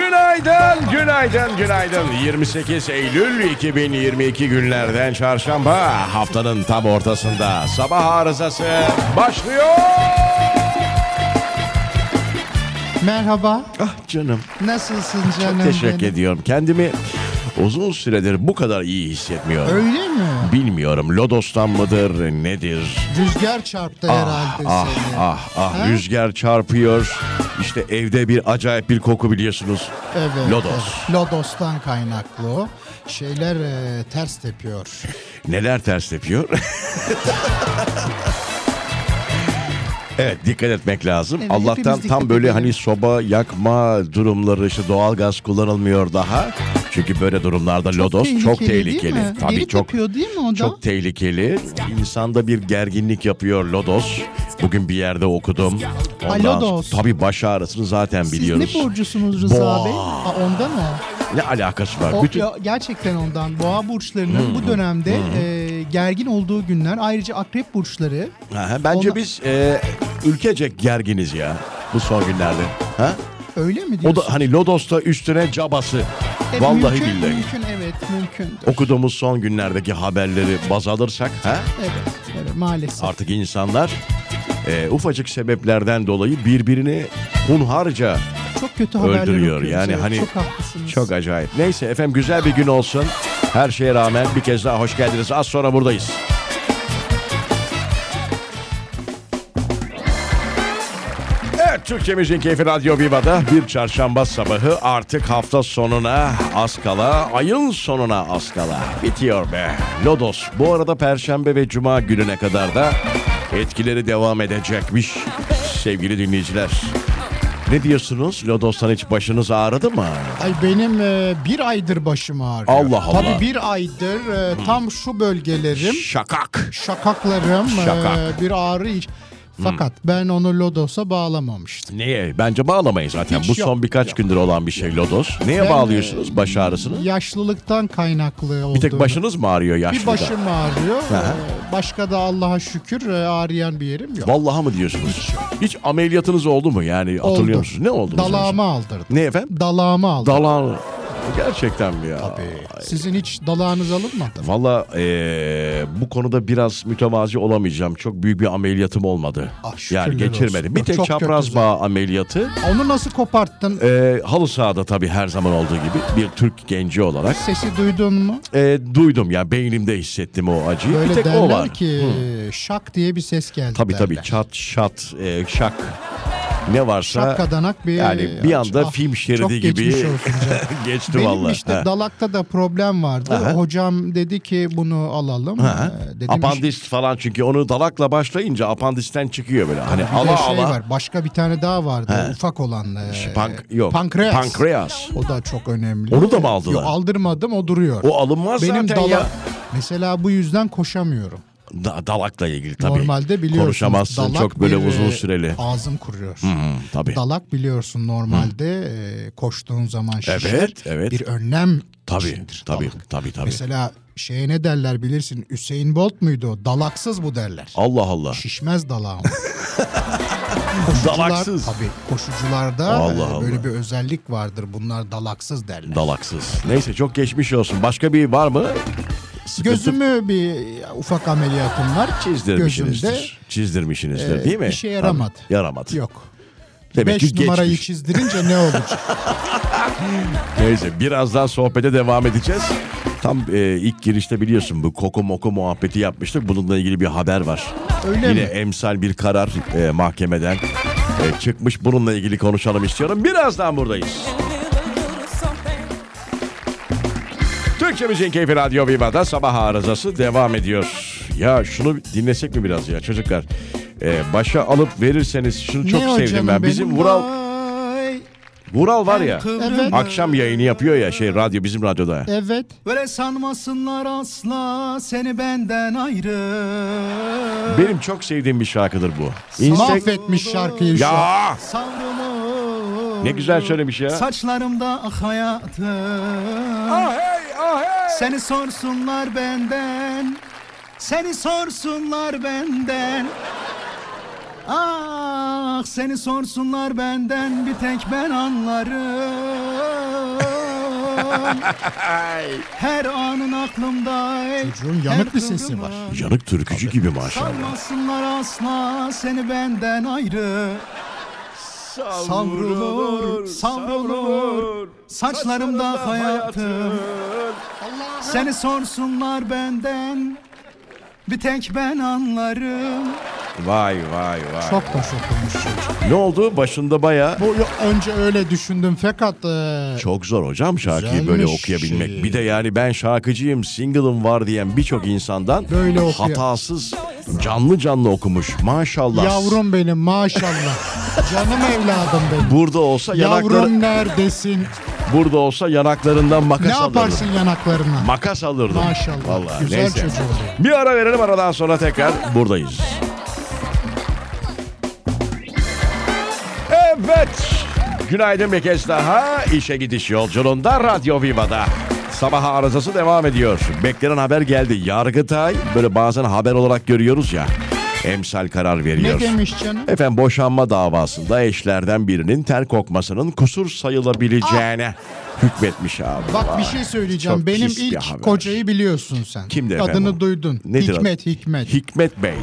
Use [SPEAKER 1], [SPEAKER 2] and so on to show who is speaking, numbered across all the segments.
[SPEAKER 1] Günaydın, günaydın, günaydın. 28 Eylül 2022 günlerden çarşamba haftanın tam ortasında sabah arızası başlıyor.
[SPEAKER 2] Merhaba.
[SPEAKER 1] Ah canım,
[SPEAKER 2] Nasılsın canım?
[SPEAKER 1] teşekkür
[SPEAKER 2] benim?
[SPEAKER 1] ediyorum. Kendimi uzun süredir bu kadar iyi hissetmiyorum.
[SPEAKER 2] Öyle mi?
[SPEAKER 1] Bilmiyorum lodostan mıdır nedir?
[SPEAKER 2] Rüzgar çarptı herhalde
[SPEAKER 1] Ah
[SPEAKER 2] seni.
[SPEAKER 1] ah ah
[SPEAKER 2] Ha?
[SPEAKER 1] rüzgar çarpıyor. İşte evde bir acayip bir koku biliyorsunuz.
[SPEAKER 2] Evet.
[SPEAKER 1] Lodos.
[SPEAKER 2] evet. Lodos'tan kaynaklı o. Şeyler e, ters tepiyor.
[SPEAKER 1] Neler ters tepiyor? Evet dikkat etmek lazım.
[SPEAKER 2] Evet,
[SPEAKER 1] Allah'tan
[SPEAKER 2] hepimiz dikkat
[SPEAKER 1] tam böyle
[SPEAKER 2] edelim.
[SPEAKER 1] hani soba yakma durumları işte doğalgaz kullanılmıyor daha. Çünkü böyle durumlarda lodos çok
[SPEAKER 2] tehlikeli değil
[SPEAKER 1] tehlikeli.
[SPEAKER 2] mi?
[SPEAKER 1] Tabii
[SPEAKER 2] Deri
[SPEAKER 1] çok
[SPEAKER 2] tepiyor değil mi o da?
[SPEAKER 1] Çok tehlikeli. İnsanda bir gerginlik yapıyor lodos. Bugün bir yerde okudum.
[SPEAKER 2] Ha,
[SPEAKER 1] Ondan
[SPEAKER 2] lodos.
[SPEAKER 1] sonra- Tabii baş ağrısını zaten biliyoruz.
[SPEAKER 2] Siz ne burcusunuz Rıza
[SPEAKER 1] Boğa.
[SPEAKER 2] Bey? Aa, onda mı?
[SPEAKER 1] Ne alakası var?
[SPEAKER 2] O,
[SPEAKER 1] Bütün Hmm,
[SPEAKER 2] ya, gerçekten ondan. Boğa burçlarının bu dönemde e, gergin olduğu günler. Ayrıca akrep burçları.
[SPEAKER 1] Ha, ha, bence
[SPEAKER 2] Ona-
[SPEAKER 1] biz e, ülkecek gerginiz ya bu son günlerde. Ha?
[SPEAKER 2] Öyle mi
[SPEAKER 1] O
[SPEAKER 2] diyorsun?
[SPEAKER 1] da hani Lodos'ta üstüne cabası.
[SPEAKER 2] E,
[SPEAKER 1] Vallahi
[SPEAKER 2] mümkün,
[SPEAKER 1] billahi.
[SPEAKER 2] Mümkün evet mümkün.
[SPEAKER 1] Okuduğumuz son günlerdeki haberleri baz alırsak ha?
[SPEAKER 2] Evet, evet maalesef.
[SPEAKER 1] artık insanlar e, ufacık sebeplerden dolayı birbirini hunharca
[SPEAKER 2] Çok kötü haberler
[SPEAKER 1] Öldürüyor.
[SPEAKER 2] okuyoruz.
[SPEAKER 1] Yani
[SPEAKER 2] Evet,
[SPEAKER 1] hani-
[SPEAKER 2] çok haklısınız.
[SPEAKER 1] çok acayip. Neyse efendim güzel bir gün olsun. Her şeye rağmen bir kez daha hoş geldiniz. Az sonra buradayız. Evet Türkçemizin Keyfi Radyo Viva'da bir çarşamba sabahı artık hafta sonuna az kala, ayın sonuna az kala. Bitiyor be. Lodos bu arada perşembe ve cuma gününe kadar da etkileri devam edecekmiş sevgili dinleyiciler. Ne diyorsunuz? Lodos'tan hiç başınız ağrıdı mı?
[SPEAKER 2] Ay benim e, bir aydır başım ağrıyor.
[SPEAKER 1] Allah Hmm. Allah.
[SPEAKER 2] Tabii bir aydır e, tam şu bölgelerim,
[SPEAKER 1] Şakak.
[SPEAKER 2] şakaklarım e,
[SPEAKER 1] Şakak. Hmm.
[SPEAKER 2] bir ağrı. iç- Fakat ben onu Lodos'a bağlamamıştım.
[SPEAKER 1] Neye? Bence bağlamayız zaten.
[SPEAKER 2] Hiç
[SPEAKER 1] Bu
[SPEAKER 2] yok,
[SPEAKER 1] son birkaç gündür olan bir şey Lodos. Neye
[SPEAKER 2] Ben,
[SPEAKER 1] bağlıyorsunuz baş ağrısını?
[SPEAKER 2] Yaşlılıktan kaynaklı olduğunu.
[SPEAKER 1] Bir tek başınız mı ağrıyor yaşlıda?
[SPEAKER 2] Bir başım ağrıyor.
[SPEAKER 1] Aha.
[SPEAKER 2] E, Başka da Allah'a şükür e, ağrıyan bir yerim yok.
[SPEAKER 1] Vallahi mı diyorsunuz? Hiç ameliyatınız oldu mu? Yani hatırlıyor musunuz? Ne oldu?
[SPEAKER 2] Dalağımı aldırdım.
[SPEAKER 1] Ne efendim?
[SPEAKER 2] Dalağımı aldım.
[SPEAKER 1] Dalağın. Gerçekten mi ya?
[SPEAKER 2] Sizin hiç dalağınız alınmadı mı?
[SPEAKER 1] Valla bu konuda biraz mütevazi olamayacağım. Çok büyük bir ameliyatım olmadı.
[SPEAKER 2] Ah, şükürler
[SPEAKER 1] yani geçirmedim.
[SPEAKER 2] olsun.
[SPEAKER 1] Bir tek
[SPEAKER 2] Çok
[SPEAKER 1] çapraz
[SPEAKER 2] kötü
[SPEAKER 1] bağ ameliyatı.
[SPEAKER 2] Onu nasıl koparttın?
[SPEAKER 1] Ee, halı sahada tabii her zaman olduğu gibi bir Türk genci olarak
[SPEAKER 2] Sesi duydun mu?
[SPEAKER 1] e, duydum ya beynimde hissettim o acıyı.
[SPEAKER 2] Böyle
[SPEAKER 1] bir tek
[SPEAKER 2] derler
[SPEAKER 1] o var.
[SPEAKER 2] ki şak diye bir ses geldi
[SPEAKER 1] Tabii
[SPEAKER 2] derler.
[SPEAKER 1] tabii çat şat e, şak ne varsa
[SPEAKER 2] Şapkadanak bir... Ah,
[SPEAKER 1] yani bir anda film şeridi
[SPEAKER 2] çok
[SPEAKER 1] gibi
[SPEAKER 2] geçmiş olsun canım.
[SPEAKER 1] geçti
[SPEAKER 2] Benim
[SPEAKER 1] vallahi.
[SPEAKER 2] işte
[SPEAKER 1] Ha.
[SPEAKER 2] dalakta da problem vardı.
[SPEAKER 1] Aha.
[SPEAKER 2] Hocam dedi ki bunu alalım.
[SPEAKER 1] Ha?
[SPEAKER 2] Ee, Dedim işte
[SPEAKER 1] Apandist falan çünkü onu dalakla başlayınca apandisten çıkıyor böyle. Hani
[SPEAKER 2] bir de
[SPEAKER 1] ala
[SPEAKER 2] şey
[SPEAKER 1] ala.
[SPEAKER 2] var. Başka bir tane daha vardı. Ufak olan. e,
[SPEAKER 1] Pank, yok.
[SPEAKER 2] Pankreas.
[SPEAKER 1] Pankreas.
[SPEAKER 2] O da çok önemli.
[SPEAKER 1] Onu da mı aldılar?
[SPEAKER 2] Yok, aldırmadım o duruyor.
[SPEAKER 1] O alınmaz
[SPEAKER 2] Benim
[SPEAKER 1] zaten
[SPEAKER 2] dalak...
[SPEAKER 1] ya.
[SPEAKER 2] Mesela bu yüzden koşamıyorum.
[SPEAKER 1] Da- dalakla ilgili tabii.
[SPEAKER 2] Normalde biliyorsun.
[SPEAKER 1] Konuşamazsın
[SPEAKER 2] dalak
[SPEAKER 1] çok böyle
[SPEAKER 2] bir,
[SPEAKER 1] uzun
[SPEAKER 2] e,
[SPEAKER 1] süreli.
[SPEAKER 2] Ağzım kuruyor.
[SPEAKER 1] Hı, tabii.
[SPEAKER 2] Dalak biliyorsun normalde e, koştuğun zaman şişer.
[SPEAKER 1] Evet, evet.
[SPEAKER 2] Bir önlem
[SPEAKER 1] Tabii,
[SPEAKER 2] içindir
[SPEAKER 1] tabii,
[SPEAKER 2] dalak.
[SPEAKER 1] tabii, tabii.
[SPEAKER 2] Mesela şeye ne derler bilirsin Hüseyin Bolt muydu o? Dalaksız bu derler.
[SPEAKER 1] Allah Allah.
[SPEAKER 2] Şişmez dalağım.
[SPEAKER 1] Dalaksız.
[SPEAKER 2] Tabii koşucularda
[SPEAKER 1] Allah
[SPEAKER 2] e, böyle
[SPEAKER 1] Allah.
[SPEAKER 2] bir özellik vardır. Bunlar dalaksız derler.
[SPEAKER 1] Dalaksız. Neyse çok geçmiş olsun. Başka bir var mı? Sıkıntı-
[SPEAKER 2] Gözümü bir ufak ameliyatım var.
[SPEAKER 1] çizdirmişsinizdir.
[SPEAKER 2] Gözümde
[SPEAKER 1] Çizdirmişsinizdir
[SPEAKER 2] e,
[SPEAKER 1] değil mi?
[SPEAKER 2] işe yaramadı.
[SPEAKER 1] Tabii, yaramadı.
[SPEAKER 2] yok.
[SPEAKER 1] Demek
[SPEAKER 2] Beş
[SPEAKER 1] ki
[SPEAKER 2] numarayı
[SPEAKER 1] geçmiş.
[SPEAKER 2] çizdirince ne olacak?
[SPEAKER 1] Neyse birazdan sohbete devam edeceğiz. Tam e, ilk girişte biliyorsun bu koku moku muhabbeti yapmıştık. Bununla ilgili bir haber var.
[SPEAKER 2] Öyle
[SPEAKER 1] Yine
[SPEAKER 2] mi?
[SPEAKER 1] emsal bir karar e, mahkemeden e, çıkmış. Bununla ilgili konuşalım istiyorum. Birazdan buradayız. Türkçemizin Keyfi Radyo Viva'da sabah arızası devam ediyor. Ya şunu dinlesek mi biraz ya çocuklar? E, başa alıp verirseniz şunu çok
[SPEAKER 2] ne
[SPEAKER 1] sevdim
[SPEAKER 2] hocam
[SPEAKER 1] ben. Bizim
[SPEAKER 2] benim?
[SPEAKER 1] Vural
[SPEAKER 3] Ay,
[SPEAKER 1] Vural var ya.
[SPEAKER 2] Evet.
[SPEAKER 1] Akşam yayını yapıyor ya şey radyo bizim radyoda.
[SPEAKER 2] Evet.
[SPEAKER 3] Böyle sanmasınlar asla seni benden ayrı.
[SPEAKER 1] Benim çok sevdiğim bir şarkıdır bu. İnsek...
[SPEAKER 2] Mahvetmiş şarkıyı şu an.
[SPEAKER 1] Ya
[SPEAKER 3] Savrulur.
[SPEAKER 1] ne güzel söylemiş ya.
[SPEAKER 3] Saçlarımda ah hayatım.
[SPEAKER 1] oh,
[SPEAKER 3] Seni sorsunlar benden. Seni sorsunlar benden. Ah seni sorsunlar benden bir tek ben anlarım. yaşıyorum. Her anın aklımda. ey,
[SPEAKER 2] Çocuğun yanık
[SPEAKER 3] her
[SPEAKER 2] bir sesi
[SPEAKER 3] kıvrımı.
[SPEAKER 2] var.
[SPEAKER 1] Yanık türkücü gibi maşallah.
[SPEAKER 3] Salmasınlar asla seni benden ayrı. Savrulur, savrulur. Saçlarımda hayatım. Seni sorsunlar benden. Bir tek ben anlarım.
[SPEAKER 1] Vay vay vay.
[SPEAKER 2] Çok hoş okumuş çocuk.
[SPEAKER 1] Ne oldu? Başında baya
[SPEAKER 2] Bu ya- önce öyle düşündüm fakat e,
[SPEAKER 1] çok zor hocam şarkıyı
[SPEAKER 2] Güzelmiş
[SPEAKER 1] böyle okuyabilmek.
[SPEAKER 2] şey.
[SPEAKER 1] Bir de yani ben şarkıcıyım, single'ım var diyen birçok insandan
[SPEAKER 2] Böyle okuyor.
[SPEAKER 1] hatasız canlı canlı okumuş. Maşallah.
[SPEAKER 2] yavrum benim maşallah. Canım evladım benim.
[SPEAKER 1] Burada olsa yanakları
[SPEAKER 2] Yavrum neredesin?
[SPEAKER 1] burada olsa yanaklarından makas
[SPEAKER 2] Ne
[SPEAKER 1] alırdım.
[SPEAKER 2] yaparsın yanaklarına?
[SPEAKER 1] Makas alırdım.
[SPEAKER 2] Maşallah.
[SPEAKER 1] Vallahi,
[SPEAKER 2] Güzel
[SPEAKER 1] neyse.
[SPEAKER 2] çocuğu oluyor.
[SPEAKER 1] Bir ara verelim aradan sonra tekrar buradayız. Evet. Günaydın bir kez daha. İşe gidiş yolculuğunda Radyo Viva'da. Sabah arızası devam ediyor. Beklenen haber geldi. Yargıtay böyle bazen haber olarak görüyoruz ya. Emsal karar veriyor.
[SPEAKER 2] Ne demiş canım?
[SPEAKER 1] Efendim boşanma davasında eşlerden birinin ter kokmasının kusur sayılabileceğine hükmetmiş abi.
[SPEAKER 2] Bak
[SPEAKER 1] Vay.
[SPEAKER 2] bir şey söyleyeceğim.
[SPEAKER 1] Çok
[SPEAKER 2] Benim
[SPEAKER 1] pis bir haber.
[SPEAKER 2] ilk kocayı biliyorsun sen.
[SPEAKER 1] Kimdi
[SPEAKER 2] Adını
[SPEAKER 1] efendim? o?
[SPEAKER 2] duydun.
[SPEAKER 1] Nedir adı?
[SPEAKER 2] Hikmet, Hikmet.
[SPEAKER 1] Hikmet Bey.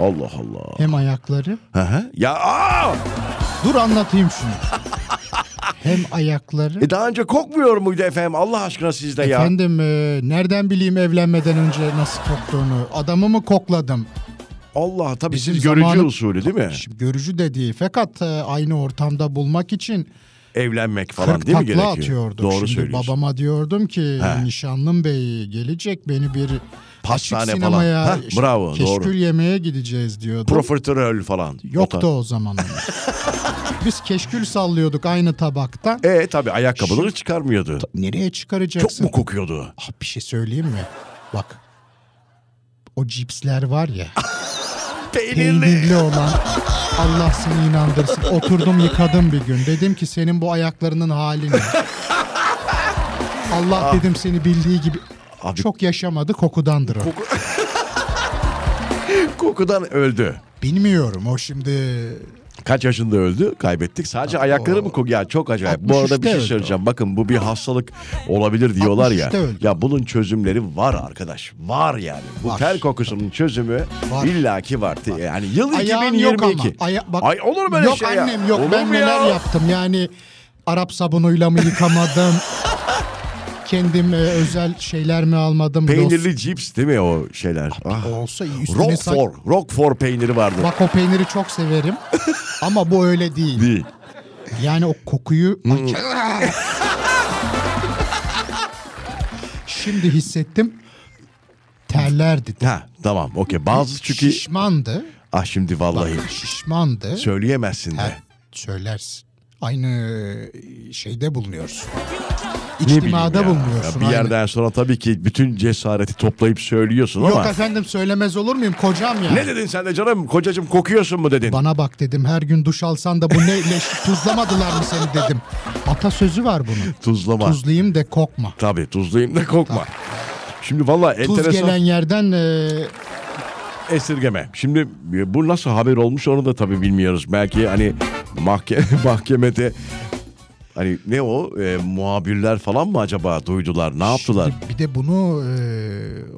[SPEAKER 1] Allah Allah.
[SPEAKER 2] Hem ayakları.
[SPEAKER 1] Hı hı. Ya aa!
[SPEAKER 2] Dur anlatayım şunu. Hem ayakları.
[SPEAKER 1] E daha önce kokmuyor muydu efendim? Allah aşkına sizde ya.
[SPEAKER 2] Efendim e, nereden bileyim evlenmeden önce nasıl koktuğunu. Adamı mı kokladım?
[SPEAKER 1] Allah tabii
[SPEAKER 2] Bizim
[SPEAKER 1] siz görücü
[SPEAKER 2] zamanı-
[SPEAKER 1] usulü değil mi?
[SPEAKER 2] Şimdi görücü dediği fakat e, aynı ortamda bulmak için
[SPEAKER 1] Evlenmek falan
[SPEAKER 2] kırk
[SPEAKER 1] değil mi
[SPEAKER 2] takla
[SPEAKER 1] gerekiyor?
[SPEAKER 2] atıyorduk.
[SPEAKER 1] Doğru
[SPEAKER 2] Şimdi
[SPEAKER 1] söylüyorsun.
[SPEAKER 2] babama diyordum ki
[SPEAKER 1] He.
[SPEAKER 2] nişanlım bey gelecek beni bir
[SPEAKER 1] Pastane
[SPEAKER 2] açık
[SPEAKER 1] falan.
[SPEAKER 2] sinemaya
[SPEAKER 1] Heh,
[SPEAKER 2] işte
[SPEAKER 1] bravo,
[SPEAKER 2] keşkül
[SPEAKER 1] doğru.
[SPEAKER 2] yemeğe gideceğiz diyordum.
[SPEAKER 1] Profiterol falan. O
[SPEAKER 2] Yoktu
[SPEAKER 1] tar-
[SPEAKER 2] o zamanlar. Biz keşkül sallıyorduk aynı tabaktan.
[SPEAKER 1] E tabii ayakkabıları çıkarmıyordu.
[SPEAKER 2] Nereye
[SPEAKER 1] Çok
[SPEAKER 2] çıkaracaksın?
[SPEAKER 1] mu kokuyordu?
[SPEAKER 2] Ah, bir şey söyleyeyim mi? Bak. O cipsler var ya. Ah,
[SPEAKER 1] Peynirli.
[SPEAKER 2] peynirli olan. Allah seni inandırsın. Oturdum yıkadım bir gün. Dedim ki senin bu ayaklarının halini. Allah dedim seni bildiği gibi
[SPEAKER 1] Ah. Abi-
[SPEAKER 2] çok yaşamadı kokudandır o.
[SPEAKER 1] Kokudan öldü.
[SPEAKER 2] Bilmiyorum o şimdi
[SPEAKER 1] Kaç yaşında öldü? Kaybettik. Sadece ayakları mı kokuyor? Ya çok acayip. Bu arada bir şey
[SPEAKER 2] 63'te öldü
[SPEAKER 1] söyleyeceğim. Bakın bu bir hastalık olabilir diyorlar ya.
[SPEAKER 2] 63'te öldü.
[SPEAKER 1] Ya bunun çözümleri var arkadaş. Var yani. Bu
[SPEAKER 2] Var.
[SPEAKER 1] ter kokusunun çözümü
[SPEAKER 2] Var.
[SPEAKER 1] illaki var. Yani yıl
[SPEAKER 2] ayağın
[SPEAKER 1] 2022.
[SPEAKER 2] yok ama. Aya- bak,
[SPEAKER 1] Ay olur mu böyle
[SPEAKER 2] yok
[SPEAKER 1] şey ya?
[SPEAKER 2] annem yok
[SPEAKER 1] Olur
[SPEAKER 2] ben
[SPEAKER 1] mu
[SPEAKER 2] neler
[SPEAKER 1] ya?
[SPEAKER 2] yaptım yani Arap sabunuyla mı yıkamadım kendim e, özel şeyler mi almadım
[SPEAKER 1] Peynirli cips değil mi o şeyler? Ah.
[SPEAKER 2] Dost- olsa iyi, üstüne sa-
[SPEAKER 1] Roquefort. Roquefort peyniri vardı.
[SPEAKER 2] Bak o peyniri çok severim ama bu öyle değil.
[SPEAKER 1] Değil. Hmm.
[SPEAKER 2] Yani o kokuyu... Şimdi hissettim terlerdi.
[SPEAKER 1] Ha tamam okey. Bazı çünkü...
[SPEAKER 2] Şişmandı.
[SPEAKER 1] Ah şimdi vallahi.
[SPEAKER 2] Şişmandı.
[SPEAKER 1] Söyleyemezsin de.
[SPEAKER 2] Ter- söylersin. Aynı şeyde bulunuyorsun.
[SPEAKER 1] Ne bileyim ya.
[SPEAKER 2] İçtimada
[SPEAKER 1] Ya
[SPEAKER 2] bulunuyorsun.
[SPEAKER 1] Bir
[SPEAKER 2] aynı.
[SPEAKER 1] yerden sonra tabii ki bütün cesareti toplayıp söylüyorsun
[SPEAKER 2] Yok
[SPEAKER 1] ama.
[SPEAKER 2] efendim söylemez olur muyum kocam ya?
[SPEAKER 1] Ne dedin sen de canım? Kocacım kokuyorsun mu dedin?
[SPEAKER 2] Bana bak dedim her gün duş alsan da bu ne leş tuzlamadılar mı seni dedim. Atasözü var bunun.
[SPEAKER 1] Tuzlama.
[SPEAKER 2] Tuzlayayım de kokma.
[SPEAKER 1] Tabii tuzlayayım da kokma. Şimdi valla
[SPEAKER 2] Tuz
[SPEAKER 1] enteresan
[SPEAKER 2] gelen yerden e,
[SPEAKER 1] esirgeme. Şimdi e, bu nasıl haber olmuş onu da tabii bilmiyoruz. Belki hani mahke mahkemede hani ne o e, muhabirler falan mı acaba duydular ne yaptılar?
[SPEAKER 2] Şimdi bir de bunu e,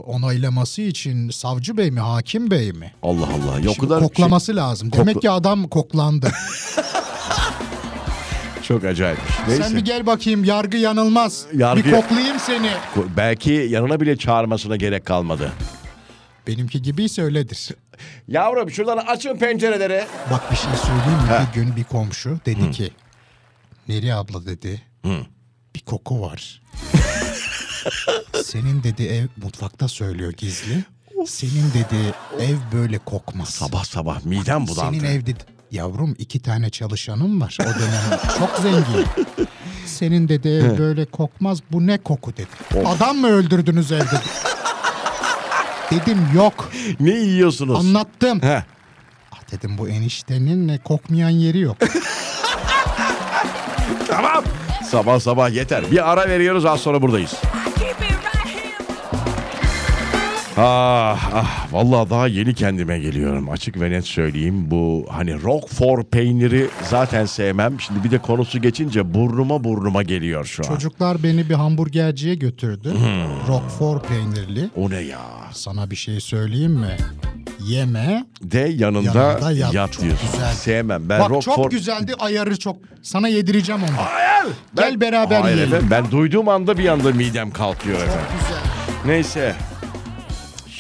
[SPEAKER 2] onaylaması için savcı bey mi hakim bey mi?
[SPEAKER 1] Allah Allah. Ya o
[SPEAKER 2] Şimdi
[SPEAKER 1] kadar şey-
[SPEAKER 2] koklaması lazım. Demek
[SPEAKER 1] Kokla-
[SPEAKER 2] ki adam koklandı.
[SPEAKER 1] çok acayip. Neyse.
[SPEAKER 2] Sen bir gel bakayım yargı yanılmaz.
[SPEAKER 1] Yargı-
[SPEAKER 2] Bir koklayayım seni.
[SPEAKER 1] Ko- Belki yanına bile çağırmasına gerek kalmadı.
[SPEAKER 2] Benimki gibiyse öyledir.
[SPEAKER 1] Yavrum şuradan açın pencereleri.
[SPEAKER 2] Bak bir şey söyleyeyim mi?
[SPEAKER 1] Ha.
[SPEAKER 2] Bir gün bir komşu dedi ki Neri abla dedi bir koku var. Senin dedi ev mutfakta söylüyor gizli. Senin dedi ev böyle kokmaz.
[SPEAKER 1] Sabah sabah midem bulandı.
[SPEAKER 2] Senin evde yavrum iki tane çalışanım var o dönem. Çok zengin. Senin dedi ev böyle kokmaz. Bu ne koku dedi. Adam mı öldürdünüz evde? dedim yok.
[SPEAKER 1] Ne yiyorsunuz?
[SPEAKER 2] Anlattım.
[SPEAKER 1] Heh.
[SPEAKER 2] Ah dedim bu eniştenin kokmayan yeri yok.
[SPEAKER 1] Tamam. Sabah sabah yeter. Bir ara veriyoruz az sonra buradayız.
[SPEAKER 4] keep it right here.
[SPEAKER 1] Ah ah vallahi daha yeni kendime geliyorum. Açık ve net söyleyeyim bu hani Roquefort peyniri zaten sevmem. Şimdi bir de konusu geçince burnuma burnuma geliyor şu an.
[SPEAKER 2] Çocuklar beni bir hamburgerciye götürdü.
[SPEAKER 1] Hmm.
[SPEAKER 2] Roquefort peynirli.
[SPEAKER 1] O ne ya?
[SPEAKER 2] Sana bir şey söyleyeyim mi? Yeme.
[SPEAKER 1] De yanında,
[SPEAKER 2] Yanında
[SPEAKER 1] yat,
[SPEAKER 2] yat. Çok
[SPEAKER 1] diyorsun.
[SPEAKER 2] güzel.
[SPEAKER 1] Sevmem. Ben
[SPEAKER 2] Bak
[SPEAKER 1] Roquefort-
[SPEAKER 2] çok güzeldi ayarı çok. Sana yedireceğim onu.
[SPEAKER 1] Hayır.
[SPEAKER 2] Gel beraber
[SPEAKER 1] Hayır
[SPEAKER 2] yiyelim.
[SPEAKER 1] efendim. Ben duyduğum anda bir anda midem kalkıyor efendim. Neyse.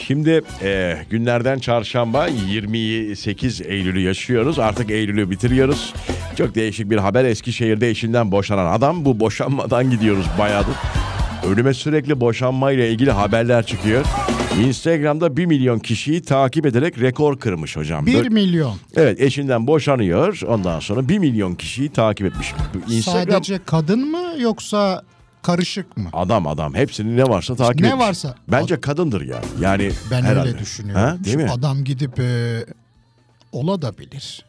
[SPEAKER 1] Şimdi e, günlerden çarşamba 28 Eylül'ü yaşıyoruz. Artık Eylül'ü bitiriyoruz. Çok değişik bir haber. Eskişehir'de eşinden boşanan adam. Bu boşanmadan gidiyoruz bayağıdır. Önüme sürekli boşanmayla ilgili haberler çıkıyor. Instagram'da 1 milyon kişiyi takip ederek rekor kırmış hocam.
[SPEAKER 2] 1
[SPEAKER 1] Böyle-
[SPEAKER 2] milyon.
[SPEAKER 1] Evet eşinden boşanıyor. Ondan sonra 1 milyon kişiyi takip etmiş. Bu Instagram
[SPEAKER 2] Sadece kadın mı yoksa karışık mı?
[SPEAKER 1] Adam adam hepsini ne varsa takip
[SPEAKER 2] Ne
[SPEAKER 1] etmiş.
[SPEAKER 2] varsa.
[SPEAKER 1] Bence kadındır yani. Yani
[SPEAKER 2] Ben
[SPEAKER 1] herhalde.
[SPEAKER 2] öyle düşünüyorum.
[SPEAKER 1] Ha, değil
[SPEAKER 2] Şu
[SPEAKER 1] mi?
[SPEAKER 2] Adam gidip e, ola da bilir.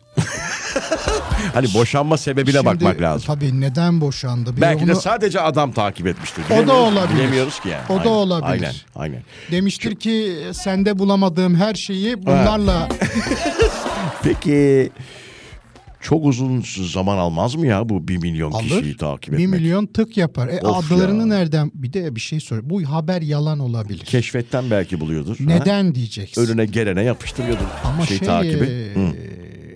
[SPEAKER 1] Hani boşanma sebebine
[SPEAKER 2] Şimdi
[SPEAKER 1] bakmak lazım.
[SPEAKER 2] Tabii neden boşandı? Bir
[SPEAKER 1] Belki de
[SPEAKER 2] onu
[SPEAKER 1] sadece adam takip etmiştir.
[SPEAKER 2] O da
[SPEAKER 1] Bilemiyoruz-
[SPEAKER 2] olabilir.
[SPEAKER 1] Bilemiyoruz ki yani.
[SPEAKER 2] O da
[SPEAKER 1] Aynen,
[SPEAKER 2] olabilir.
[SPEAKER 1] Aynen. Aynen.
[SPEAKER 2] demiştir ki sende bulamadığım her şeyi bunlarla
[SPEAKER 1] Peki çok uzun zaman almaz mı ya bu 1 milyon kişiyi
[SPEAKER 2] alır.
[SPEAKER 1] takip
[SPEAKER 2] 1
[SPEAKER 1] etmek?
[SPEAKER 2] milyon tık yapar. E,
[SPEAKER 1] Of
[SPEAKER 2] adlarını
[SPEAKER 1] ya.
[SPEAKER 2] nereden? Bir de bir şey sor. Bu haber yalan olabilir.
[SPEAKER 1] Keşfetten belki buluyordur. Ha?
[SPEAKER 2] Neden diyeceksin?
[SPEAKER 1] Önüne gelene yapıştırıyordur
[SPEAKER 2] Ama
[SPEAKER 1] şey,
[SPEAKER 2] şey,
[SPEAKER 1] takibi.
[SPEAKER 2] e,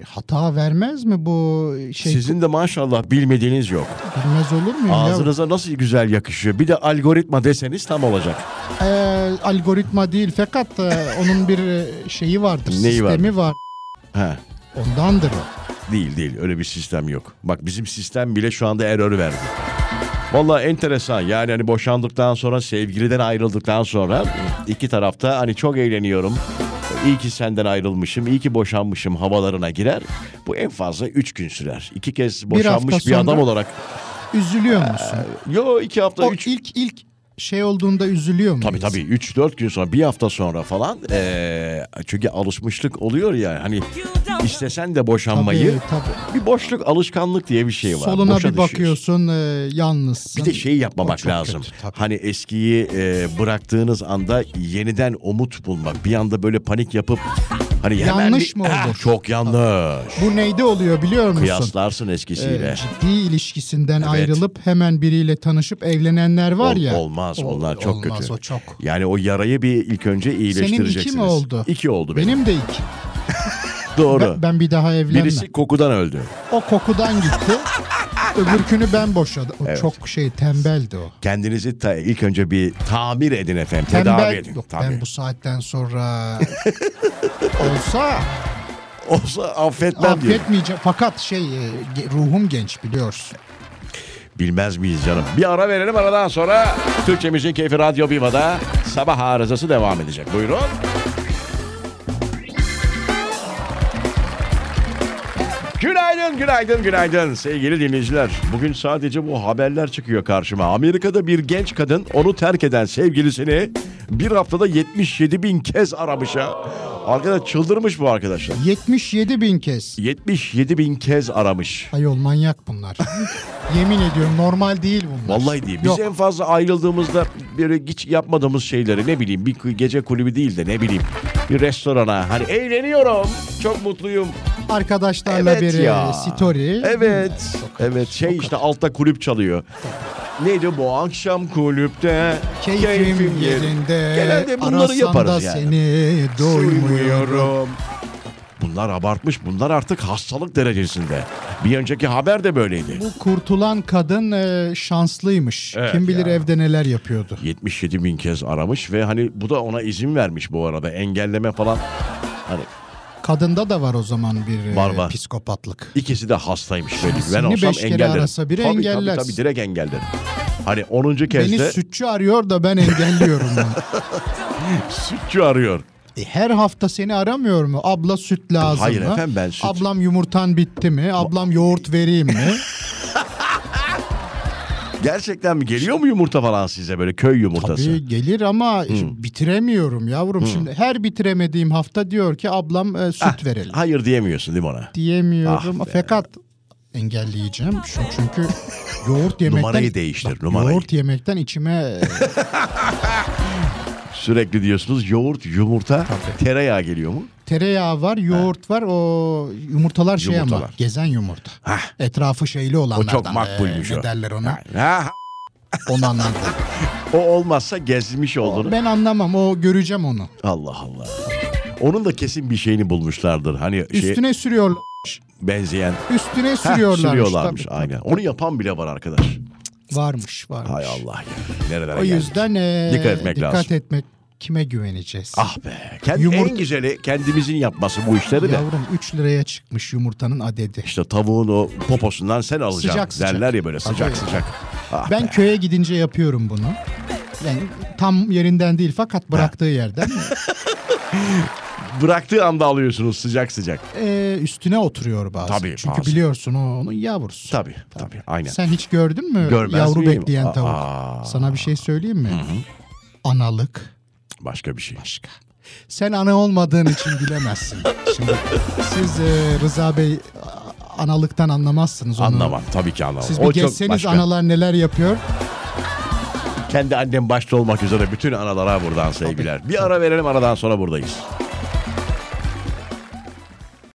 [SPEAKER 2] hata vermez mi bu şey?
[SPEAKER 1] Sizin de maşallah bilmediğiniz yok.
[SPEAKER 2] Bilmez olur mu? ya?
[SPEAKER 1] Ağzınıza nasıl güzel yakışıyor. Bir de algoritma deseniz tam olacak.
[SPEAKER 2] E, algoritma değil fakat e, onun bir e, şeyi vardır.
[SPEAKER 1] Neyi
[SPEAKER 2] sistemi var.
[SPEAKER 1] Ha.
[SPEAKER 2] Ondandır o.
[SPEAKER 1] Değil değil öyle bir sistem yok. Bak bizim sistem bile şu anda error verdi. Vallahi enteresan yani hani boşandıktan sonra sevgiliden ayrıldıktan sonra iki tarafta hani çok eğleniyorum. İyi ki senden ayrılmışım, iyi ki boşanmışım havalarına girer. Bu en fazla üç gün sürer. İki kez boşanmış
[SPEAKER 2] hafta
[SPEAKER 1] bir, adam
[SPEAKER 2] sonra-
[SPEAKER 1] olarak.
[SPEAKER 2] Üzülüyor musun?
[SPEAKER 1] Yo iki hafta,
[SPEAKER 2] o
[SPEAKER 1] üç
[SPEAKER 2] ilk ilk şey olduğunda üzülüyor muyuz?
[SPEAKER 1] Tabii tabii 3-4 gün sonra bir hafta sonra falan eee, çünkü alışmışlık oluyor ya hani istesen de boşanmayı
[SPEAKER 2] Tabii, tabii.
[SPEAKER 1] bir boşluk alışkanlık diye bir şey var.
[SPEAKER 2] Soluna
[SPEAKER 1] Boşa
[SPEAKER 2] bir
[SPEAKER 1] düşüyorsun.
[SPEAKER 2] bakıyorsun e, yalnızsın.
[SPEAKER 1] Bir de şeyi
[SPEAKER 2] O
[SPEAKER 1] yapmamak
[SPEAKER 2] çok
[SPEAKER 1] lazım.
[SPEAKER 2] kötü, tabii.
[SPEAKER 1] hani eskiyi e, bıraktığınız anda yeniden umut bulmak. Bir anda böyle panik yapıp hani hemen
[SPEAKER 2] Yanlış
[SPEAKER 1] bir-
[SPEAKER 2] mı
[SPEAKER 1] Ah,
[SPEAKER 2] olur?
[SPEAKER 1] Çok yanlış.
[SPEAKER 2] Bu neyde oluyor biliyor musun?
[SPEAKER 1] Kıyaslarsın
[SPEAKER 2] E,
[SPEAKER 1] eskisiyle.
[SPEAKER 2] ciddi ilişkisinden
[SPEAKER 1] Evet.
[SPEAKER 2] ayrılıp hemen biriyle tanışıp evlenenler var
[SPEAKER 1] Ol-
[SPEAKER 2] ya.
[SPEAKER 1] olmaz,
[SPEAKER 2] Ol-
[SPEAKER 1] onlar çok
[SPEAKER 2] olmaz,
[SPEAKER 1] kötü.
[SPEAKER 2] o çok.
[SPEAKER 1] Yani o yarayı bir ilk önce iyileştireceksiniz.
[SPEAKER 2] Senin iki mi oldu?
[SPEAKER 1] İki oldu benim.
[SPEAKER 2] Benim de iki.
[SPEAKER 1] Doğru.
[SPEAKER 2] Ben, ben bir daha evlenmem.
[SPEAKER 1] Birisi kokudan öldü.
[SPEAKER 2] O kokudan gitti. Öbürkünü ben boşadım. O çok şey tembeldi o.
[SPEAKER 1] Kendinizi ta- ilk önce bir tamir edin efendim.
[SPEAKER 2] Tembel.
[SPEAKER 1] Tedavi edin.
[SPEAKER 2] Yok
[SPEAKER 1] Tabii.
[SPEAKER 2] ben bu saatten sonra olsa
[SPEAKER 1] Olsa affetmem diyor.
[SPEAKER 2] affetmeyeceğim. Fakat şey e, ge- ruhum genç biliyorsun.
[SPEAKER 1] Bilmez miyiz canım? Bir ara verelim aradan sonra Türkçe Müzik Keyfi Radyo Viva'da sabah arızası devam edecek. Buyurun. Günaydın, günaydın, günaydın sevgili dinleyiciler. Bugün sadece bu haberler çıkıyor karşıma. Amerika'da bir genç kadın onu terk eden sevgilisini bir haftada 77 bin kez aramış ha. Arkadaş çıldırmış bu arkadaşlar.
[SPEAKER 2] 77 bin kez.
[SPEAKER 1] 77 bin kez aramış.
[SPEAKER 2] Ayol manyak bunlar. Yemin ediyorum normal değil bunlar.
[SPEAKER 1] Vallahi değil. Biz
[SPEAKER 2] Yok.
[SPEAKER 1] en fazla ayrıldığımızda böyle hiç yapmadığımız şeyleri ne bileyim bir gece kulübü değil de ne bileyim bir restorana hani eğleniyorum çok mutluyum.
[SPEAKER 2] Arkadaşlarla
[SPEAKER 1] Evet
[SPEAKER 2] bir e,
[SPEAKER 1] ya.
[SPEAKER 2] story.
[SPEAKER 1] Evet. Evet şey işte altta kulüp çalıyor. Neydi bu akşam kulüpte
[SPEAKER 2] Keyfim, yerinde.
[SPEAKER 1] Genelde bunları
[SPEAKER 2] arasam da
[SPEAKER 1] yaparız yani.
[SPEAKER 2] seni doymuyorum.
[SPEAKER 1] Duymuyorum. Bunlar abartmış. Bunlar artık hastalık derecesinde. Bir önceki haber de böyleydi.
[SPEAKER 2] Bu kurtulan kadın e, şanslıymış.
[SPEAKER 1] Evet
[SPEAKER 2] Kim bilir
[SPEAKER 1] ya.
[SPEAKER 2] evde neler yapıyordu.
[SPEAKER 1] 77 bin kez aramış ve hani bu da ona izin vermiş bu arada engelleme falan. Hani
[SPEAKER 2] Kadında da var o zaman bir e,
[SPEAKER 1] Var, var.
[SPEAKER 2] psikopatlık.
[SPEAKER 1] ikisi de hastaymış böyle. Ben
[SPEAKER 2] Seni
[SPEAKER 1] olsam
[SPEAKER 2] beş kere
[SPEAKER 1] engellerim.
[SPEAKER 2] arasa biri
[SPEAKER 1] tabii,
[SPEAKER 2] engeller.
[SPEAKER 1] Tabii, tabii direkt engellerim. Hani 10. kez
[SPEAKER 2] Beni
[SPEAKER 1] de
[SPEAKER 2] sütçü arıyor da ben engelliyorum onu.
[SPEAKER 1] sütçü arıyor.
[SPEAKER 2] E, her hafta seni aramıyor mu? Abla süt lazım
[SPEAKER 1] Hayır
[SPEAKER 2] mı?
[SPEAKER 1] efendim, ben süt-
[SPEAKER 2] Ablam yumurtan bitti mi? Ablam yoğurt vereyim mi?
[SPEAKER 1] Gerçekten mi? Geliyor mu yumurta falan size böyle köy yumurtası?
[SPEAKER 2] Tabii E, gelir ama
[SPEAKER 1] Hmm.
[SPEAKER 2] şimdi bitiremiyorum yavrum. Şimdi her bitiremediğim hafta diyor ki ablam e, süt verelim.
[SPEAKER 1] Hayır diyemiyorsun değil mi ona?
[SPEAKER 2] Diyemiyorum
[SPEAKER 1] Ah be.
[SPEAKER 2] fakat engelleyeceğim. Şu- Çünkü yoğurt e, yemekten...
[SPEAKER 1] Numarayı değiştir,
[SPEAKER 2] Bak,
[SPEAKER 1] numarayı.
[SPEAKER 2] Yoğurt yemekten içime
[SPEAKER 1] Sürekli diyorsunuz yoğurt, yumurta, tereyağı geliyor mu?
[SPEAKER 2] Tereyağı var, yoğurt var. O yumurtalar şey ama
[SPEAKER 1] Yumurtalar.
[SPEAKER 2] gezen yumurta.
[SPEAKER 1] Hah.
[SPEAKER 2] Etrafı şeyli olanlardan.
[SPEAKER 1] makbulmüş
[SPEAKER 2] ee,
[SPEAKER 1] o.
[SPEAKER 2] Ne derler ona?
[SPEAKER 1] Ha,
[SPEAKER 2] Onu anladım.
[SPEAKER 1] o olmazsa gezmiş olduğunu.
[SPEAKER 2] ben anlamam. O göreceğim onu.
[SPEAKER 1] Allah Allah. Onun da kesin bir şeyini bulmuşlardır. Hani şey
[SPEAKER 2] Üstüne sürüyor.
[SPEAKER 1] benzeyen.
[SPEAKER 2] Üstüne
[SPEAKER 1] Heh,
[SPEAKER 2] sürüyorlarmış.
[SPEAKER 1] sürüyorlarmış
[SPEAKER 2] tabii.
[SPEAKER 1] aynen. Onu yapan bile var arkadaş.
[SPEAKER 2] Varmış, varmış.
[SPEAKER 1] Hay Allah ya. Nerelere
[SPEAKER 2] O
[SPEAKER 1] geldik?
[SPEAKER 2] yüzden ee,
[SPEAKER 1] Dikkat etmek
[SPEAKER 2] dikkat
[SPEAKER 1] lazım.
[SPEAKER 2] etmek kime güveneceğiz?
[SPEAKER 1] Ah be. Kendi,
[SPEAKER 2] Yumurta-
[SPEAKER 1] En güzeli kendimizin yapması bu işleri de.
[SPEAKER 2] Yavrum 3 liraya çıkmış yumurtanın adedi.
[SPEAKER 1] İşte tavuğun o poposundan sen alacaksın
[SPEAKER 2] Sıcak sıcak.
[SPEAKER 1] derler ya böyle sıcak
[SPEAKER 2] Tabii.
[SPEAKER 1] sıcak. Ah
[SPEAKER 2] Ben köye gidince yapıyorum bunu. Yani tam yerinden değil fakat bıraktığı yerden
[SPEAKER 1] Bıraktığı anda alıyorsunuz sıcak sıcak.
[SPEAKER 2] e, üstüne oturuyor bazen.
[SPEAKER 1] Tabii,
[SPEAKER 2] Çünkü
[SPEAKER 1] bazen.
[SPEAKER 2] biliyorsun o onun yavrusu.
[SPEAKER 1] Tabii tabii, aynen.
[SPEAKER 2] Sen hiç gördün mü
[SPEAKER 1] Görmez
[SPEAKER 2] yavru
[SPEAKER 1] miyim?
[SPEAKER 2] bekleyen tavuk?
[SPEAKER 1] Aa.
[SPEAKER 2] Sana bir şey söyleyeyim mi? Analık
[SPEAKER 1] Başka bir şey.
[SPEAKER 2] başka. Sen ana olmadığın için bilemezsin. Şimdi siz e, Rıza Bey a- analıktan anlamazsınız onu.
[SPEAKER 1] Anlamam tabii ki anlamam.
[SPEAKER 2] Siz
[SPEAKER 1] o
[SPEAKER 2] bir
[SPEAKER 1] çok
[SPEAKER 2] geçseniz
[SPEAKER 1] başka.
[SPEAKER 2] analar neler yapıyor.
[SPEAKER 1] Kendi annem başta olmak üzere bütün analara buradan sevgiler. Bir ara verelim aradan sonra buradayız.